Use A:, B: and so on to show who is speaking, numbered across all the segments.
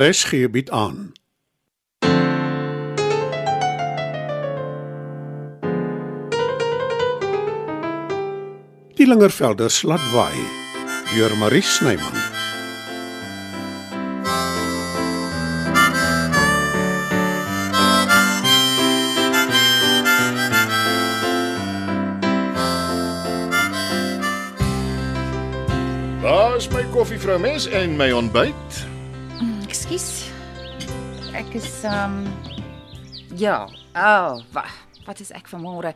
A: RSG bied aan. Die Lingervelders laat waai deur Marie Snyman.
B: Daar's my koffie vrou mens en my ontbyt.
C: Mm, Ekskuus. Ek is um ja, oh, wa, wat is ek vanmôre?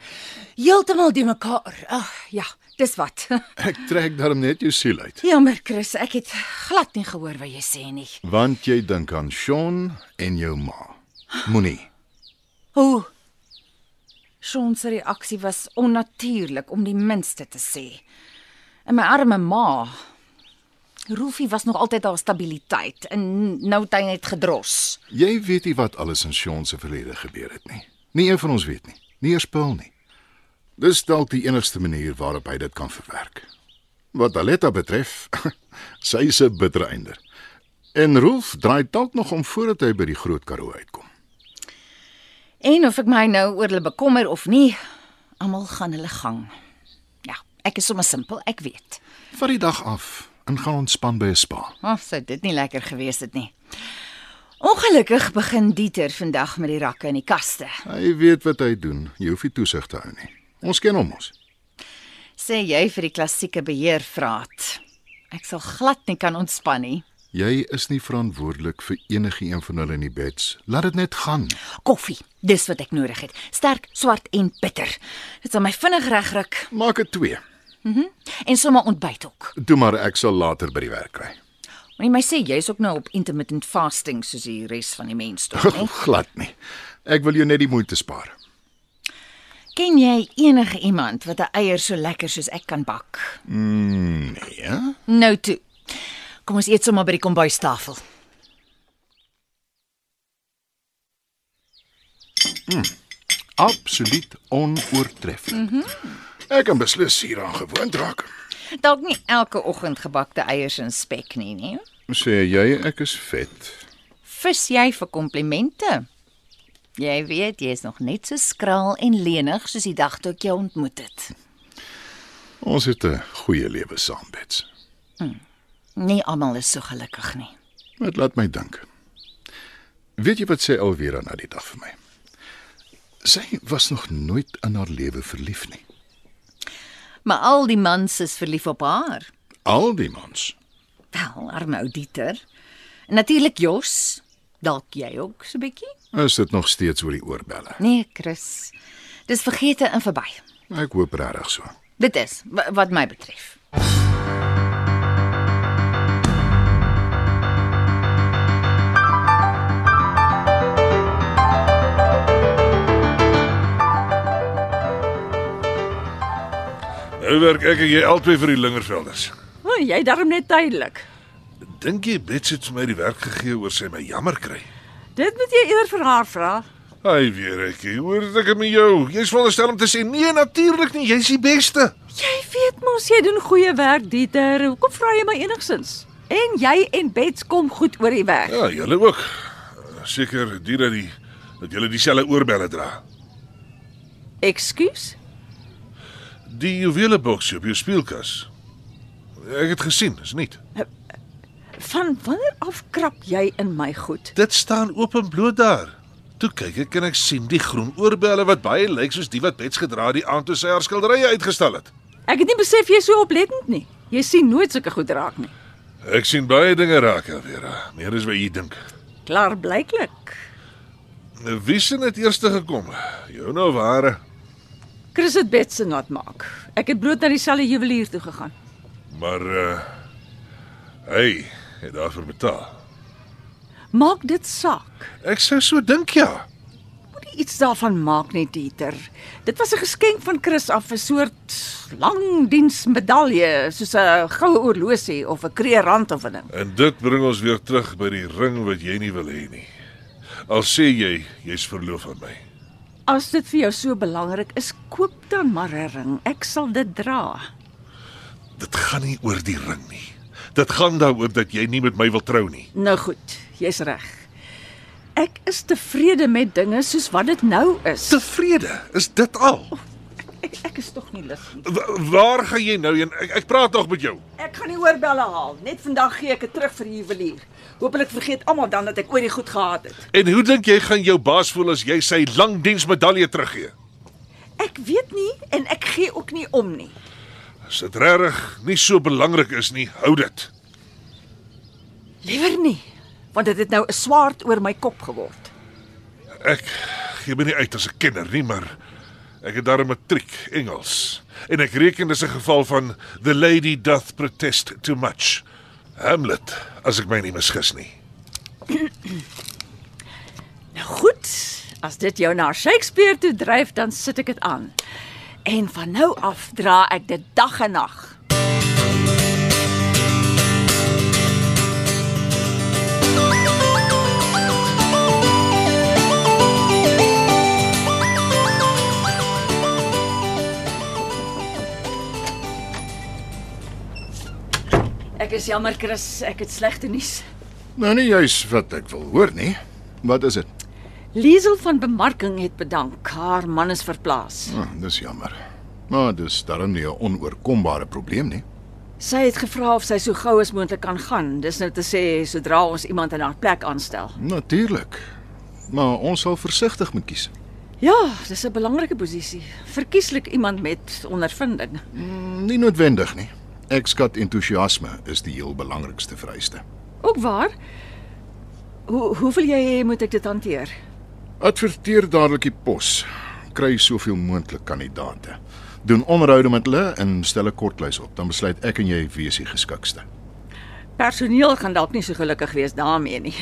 C: Heeltemal die mekaar. Ag, oh, ja, dis wat.
B: Ek trek darm net jou siel uit,
C: Jammer, Chris, ek het glad nie gehoor wat jy sê nie.
B: want jy dink aan Sean en jou ma. Moenie.
C: Hoe? Sean se reaksie was onnatuurlik om die minste te sê. En my arme ma. Rufie was nog altyd haar stabiliteit en nou het hy net gedros.
B: Jy weet nie wat alles in Sean se verlede gebeur het nie. Nie een van ons weet nie. Nie eers Paul nie. Dis dalk die enigste manier waarop hy dit kan verwerk. Wat Aletta betref, sy is 'n bittere einder. En Rolf draai dalk nog om voordat hy by die groot Karoo uitkom.
C: En of ek my nou oor hulle bekommer of nie, almal gaan hulle gang. Ja, ek is sommer simpel, ek weet.
B: Vat die dag af en gaan ontspan by 'n spa.
C: Of sou dit nie lekker gewees het nie. Ongelukkig begin Dieter vandag met die rakke in die kaste.
B: Hy weet wat hy doen. Jy hoef nie toesig te hou nie. Ons ken hom mos.
C: Sê jy vir die klassieke beheervraat. Ek sal glad nie kan ontspan nie.
B: Jy is nie verantwoordelik vir enige een van hulle in die beds. Laat dit net gaan.
C: Koffie, dis wat ek nodig het. Sterk, swart en bitter. Dit sal my vinnig regruk
B: Maak dit 2.
C: en sommer ontbyt ook.
B: Toe maar ek sal later by die werk kry.
C: Moenie my sê jy's ook nou op intermittent fasting soos die res van die mensdom nie.
B: Glad nie. Ek wil jou net die moeite spaar.
C: Ken jy enige iemand wat 'n eier so lekker soos ek kan bak?
B: Nee, ja?
C: Nou toe. Kom ons eet sommer by die kombuistafel.
B: Absoluut onoortrefflik. Mm -hmm. Ek kan beslis hieraan gewoond raak.
C: Dalk nie elke oggend gebakte eiers en spek nie, nee.
B: Sê jy ek is vet?
C: Vis jy vir komplimente? Jy weet, jy's nog net so skraal en lenig soos die dag toe ek jou ontmoet het.
B: Ons het 'n goeie lewe saam, Bets.
C: Nie almal is so gelukkig nie.
B: Dit laat my dink. Weet jy wat sê Alvera na die dag vir my? Sy was nog nooit in haar lewe verlief nie.
C: Maar al die mans is verlief op haar.
B: Al die mans.
C: Wel, arme ou Dieter. En natuurlik Jos. Dalk jy ook so 'n bietjie?
B: Is dit nog steeds oor die oorbelle?
C: Nee, Chris. Dis vergete en verby.
B: Ek hoop regtig so.
C: Dit is wa- wat my betref.
D: Nou werk ek en jy albei vir die Lingervelders.
E: O, oh, jy darm net tydelik.
D: Dink jy Bets het vir my die werk gegee oor sy my jammer kry?
E: Dit moet jy eerder vir haar vra.
D: Ai weer ek, jy hoor dit ek het met jou. Jy's veronderstel om te sê nee, natuurlik nie, jy's die beste.
E: Jy weet mos jy doen goeie werk, Dieter. Hoekom vra jy my enigsins? En jy en Bets kom goed oor die weg.
D: Ja, julle ook. Eh, Seker dit dat die dat julle dieselfde oorbelle dra.
E: Ekskuus?
D: Die juweleboks op jou speelkas. Ek het gesien, is nie.
E: Van wanneer af krap jy in my goed?
D: Dit staan oop en bloot daar. Toe kyk ek en ek sien die groen oorbelle wat baie lyk soos die wat Bets gedra het die aand toe sy haar skilderye uitgestal het.
E: Ek het nie besef jy's so oplettend nie. Jy sien nooit sulke goed raak nie.
D: Ek sien baie dinge raak, Vera. Meer as wat jy dink.
E: Klaar blyklik.
D: Wie sien dit eerste gekom? Jou nou ware.
E: Chris het Bets se nat maak. Ek het bloot na dieselfde juwelier toe gegaan.
D: Maar uh hy het daarvoor betaal.
E: Maak dit saak.
D: Ek sou so dink ja.
E: Moenie iets daarvan maak nie, Dieter. Dit was 'n geskenk van Chris af, 'n soort langdiensmedalje, soos 'n goue horlosie of 'n kreerrand of 'n ding.
D: En dit bring ons weer terug by die ring wat jy nie wil hê nie. Al sê jy jy's verloof aan my.
E: As dit vir jou so belangrik is, koop dan maar 'n ring. Ek sal dit dra.
D: Dit gaan nie oor die ring nie. Dit gaan daaroor dat jy nie met my wil trou nie.
E: Nou goed, jy's reg. Ek is tevrede met dinge soos wat dit nou is.
D: Tevrede, is dit al?
E: Ek, ek is tog nie lus nie.
D: Wa- Waar gaan jy nou heen? Ek, ek praat nog met jou.
F: Ek gaan die oorbelle haal. Net vandag gee ek dit terug vir die juwelier. Hoopelik vergeet almal dan dat ek ooit die goed gehad het.
D: En hoe dink jy gaan jou baas voel as jy sy langdiensmedalje teruggee?
F: Ek weet nie en ek gee ook nie om nie.
D: As dit regtig nie so belangrik is nie, hou dit.
F: Liewer nie, want dit het nou 'n swaard oor my kop geword.
D: Ek gee my nie uit as 'n kenner nie, maar ek het daarom 'n matriek Engels en ek reken dis 'n geval van the lady doth protest too much. Hamlet, as ek my nie misgis nie.
E: Nou Goed, as dit jou na Shakespeare toe dryf, dan sit ek dit aan. En van nou af dra ek dit dag en nag. Ek is jammer Chris, ek het slegte nuus.
B: Nou nie juis wat ek wil hoor nie. Wat is dit?
E: Liesel van bemarking het bedank. Haar man is verplaas.
B: Hm, dis jammer. Maar dis darm nie 'n onoorkombare probleem nie.
E: Sy het gevra of sy so gou as moontlik kan gaan. Dis nou te sê sodra ons iemand in haar plek aanstel.
B: Natuurlik. Maar ons sal versigtig moet kies.
E: Ja, dis 'n belangrike posisie. Verkieslik iemand met ondervinding.
B: Nie noodwendig nie. Ek skat entoesiasme is die heel belangrikste vereiste.
E: Ook waar? Hoe hoe wil jy hê moet ek dit hanteer?
B: Adverteer dadelik die pos. Kry soveel moontlik kandidate. Doen onderhoude met hulle en stel 'n kortlys op. Dan besluit ek en jy wie is die geskikste.
E: Personeel gaan dalk nie so gelukkig wees daarmee nie.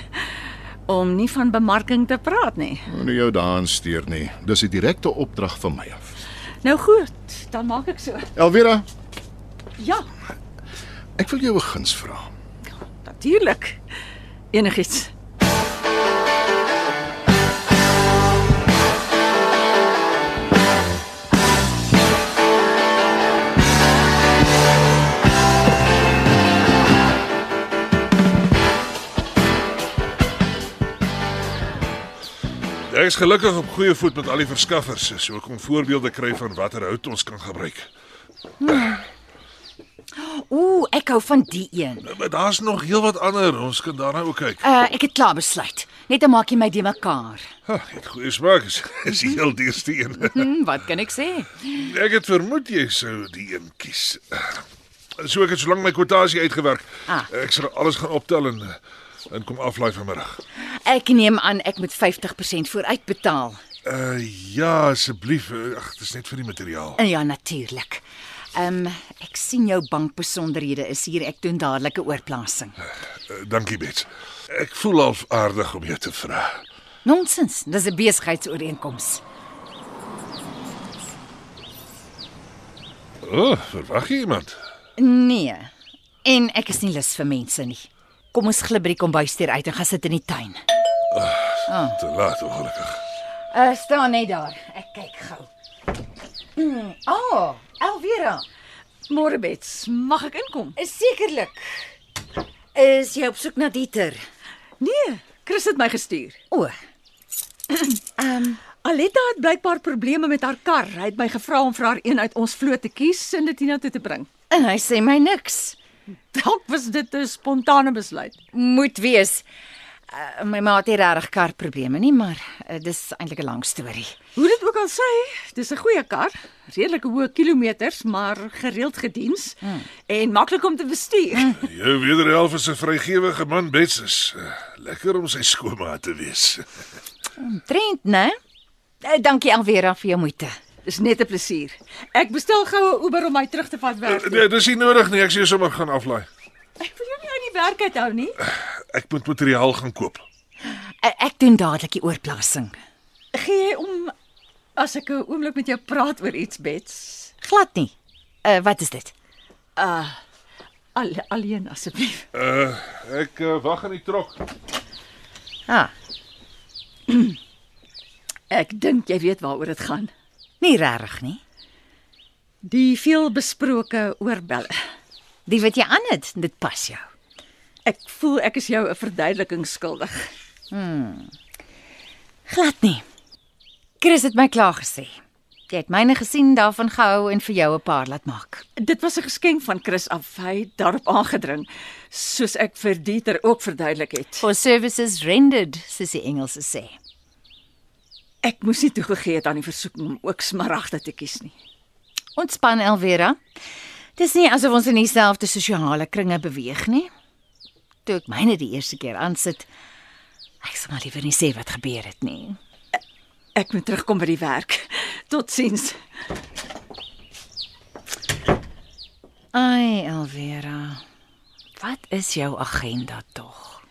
E: Om nie van bemarking te praat nie.
B: Moenie jou daaraan steur nie. Dis 'n direkte opdrag van my af.
E: Nou goed, dan maak ek so.
B: Elvira,
E: Ja,
B: ek wil jou 'n guns vra.
E: natuurlik. Enigiets.
D: Ek is gelukkig op goeie voet met al die verskaffers, so ek kon voorbeelde kry van watter hout ons kan gebruik.
C: Ooh, ek hou van die een.
D: Maar daar's nog heelwat ander, ons kan daarna ook kyk.
C: Uh, ek het klaar besluit. Net dan maak jy my de mekaar.
D: Ha, jy het goeie smaak, is, is die heel duurste een.
C: Hm, wat kan ek sê?
D: Ek het vermoed jy sou die een kies. So ek het solank my kwotasie uitgewerk.
C: Ah.
D: Ek sal alles gaan optel en eh, en kom aflaai vanmiddag.
C: Ek neem aan ek moet 50% vooruit betaal.
D: Uh ja, asseblief. Eh, Ag, dit is net vir die materiaal.
C: En ja, natuurlik. Ehm um, ek sien jou bankbesonderhede is hier. Ek doen dadelik 'n oorplasing.
D: Uh, dankie, Bets. Ek voel half aardig om jou te vra.
C: Nonsens, dis 'n besigheidsooreenkoms.
D: O, oh, verwag jy iemand?
C: Nee. En ek is nie lus vir mense nie. Kom ons glip by die kombuisdeur uit en gaan sit in die tuin.
D: Te laat, ongelukkig.
C: Uh staan net daar. Ek kyk gou. Mm, oh, Elvira,
E: Môre Bets, mag ek inkom?
C: is sekerlik. Is jy op soek na Dieter?
E: Nee, Chris het my gestuur.
C: O. Oh. Ehm um,
E: Aletta het blykbaar probleme met haar kar. Hy het my gevra om vir haar een uit ons vloot te kies en dit hiernatoe te bring.
C: en hy sê my niks.
E: Dalk was dit 'n spontane besluit.
C: Moet wees. Uh, my ma het nie regtig karprobleme nie, maar uh, dis eintlik 'n lang storie.
E: Hoe dit ook al sê, dis 'n goeie kar, redelike hoë kilometers, maar gereeld gediens hmm. en maklik om te bestuur. Hmm.
D: Jou wederhelf is 'n vrygewige man, Bets. Is eh, lekker om sy skoonma te wees.
C: Trend, né? Uh, dankie Elvira vir jou moeite.
E: Dis net 'n plesier. Ek bestel goue Uber om my terug te vat werk. toe.
D: Nee, dis nie nodig nie. Ek sê sommer gaan aflaai.
E: Ek wil jou nie uit die werk uithou nie.
D: Ek moet materiaal gaan koop.
C: Uh, ek doen dadelik die oorplasing.
E: Gee jy om as ek 'n oomblik met jou praat oor iets, Bets?
C: Glad nie. Uh, wat is dit?
E: Al, alleen asseblief.
D: Uh ek uh, wag in die trok.
C: Ah,
E: Ek dink jy weet waaroor dit gaan.
C: nie regtig nie.
E: Die veelbesproke oorbelle.
C: Die wat jy aan het, dit pas jou.
E: Ek voel ek is jou 'n verduideliking skuldig.
C: Glad nie. Chris het my klaar gesê. Jy het myne gesien, daarvan gehou en vir jou 'n paar laat maak.
E: Dit was 'n geskenk van Chris af. Hy het daarop aangedring, soos ek vir Dieter ook verduidelik het.
C: For services rendered, soos die Engelse sê.
E: Ek moes nie toegegee het aan die versoeking om ook smaragde te kies nie.
C: Ontspan Elvera. Dis nie asof ons in dieselfde sosiale kringe beweeg nie. Toe ek myne die eerste keer aansit, ek sal maar liewer nie sê wat gebeur het nie.
E: Ek moet terugkom by die werk. Totsiens.
C: Ai Elvera. Wat is jou agenda tog?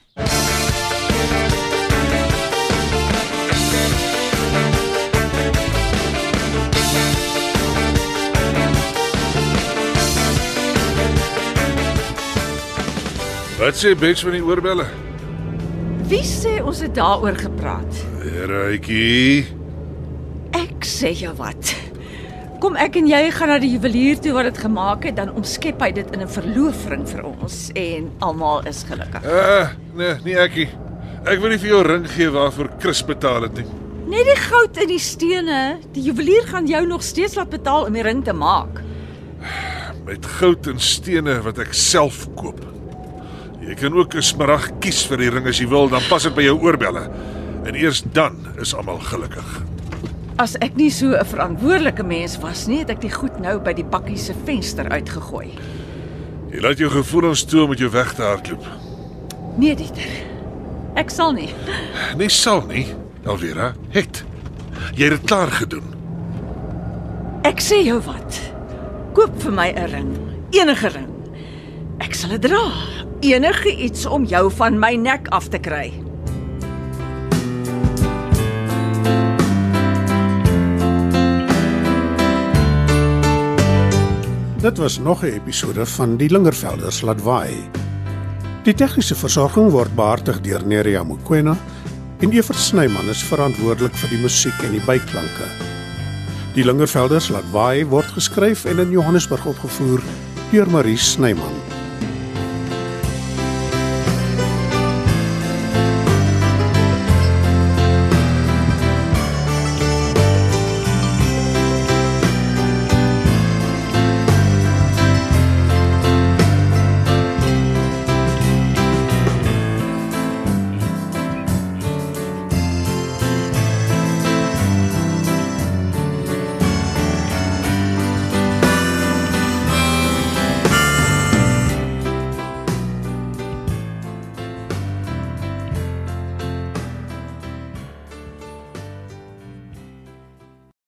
D: Wat sê Bets van die oorbelle?
E: Wie sê ons het daaroor gepraat?
D: Heretjie.
E: Ek sê jou wat. Kom ek en jy gaan na die juwelier toe wat dit gemaak het, dan omskep hy dit in 'n verloofring vir ons en almal is gelukkig.
D: Ah, nee, nie ekkie. Ek wil nie vir jou ring gee waarvoor Chris betaal het nie.
E: Net die goud en die stene, die juwelier gaan jou nog steeds laat betaal om die ring te maak.
D: Met goud en stene wat ek self koop. Jy kan ook 'n smarag kies vir die ring as jy wil, dan pas dit by jou oorbelle. En eers dan is almal gelukkig.
E: As ek nie so 'n verantwoordelike mens was nie, het ek die goed nou by die bakkie se venster uitgegooi.
D: Jy laat jou gevoelens toe om met jou weg te hardloop.
E: Nee, Dieter. Ek sal nie.
D: Nee, sal nie. Alvera, het. Jy het dit klaar gedoen.
E: Ek sê jou wat. Koop vir my 'n ring, enige ring. Ek sal dit dra. Enige iets om jou van my nek af te kry.
A: Dit was nog 'n episode van Die Lingervelders laat waai. Die tegniese versorging word behartig deur Neriya Mukwena en Evert Snyman is verantwoordelik vir die musiek en die byklanke. Die Lingervelders laat waai word geskryf en in Johannesburg opgevoer deur Marie Snyman.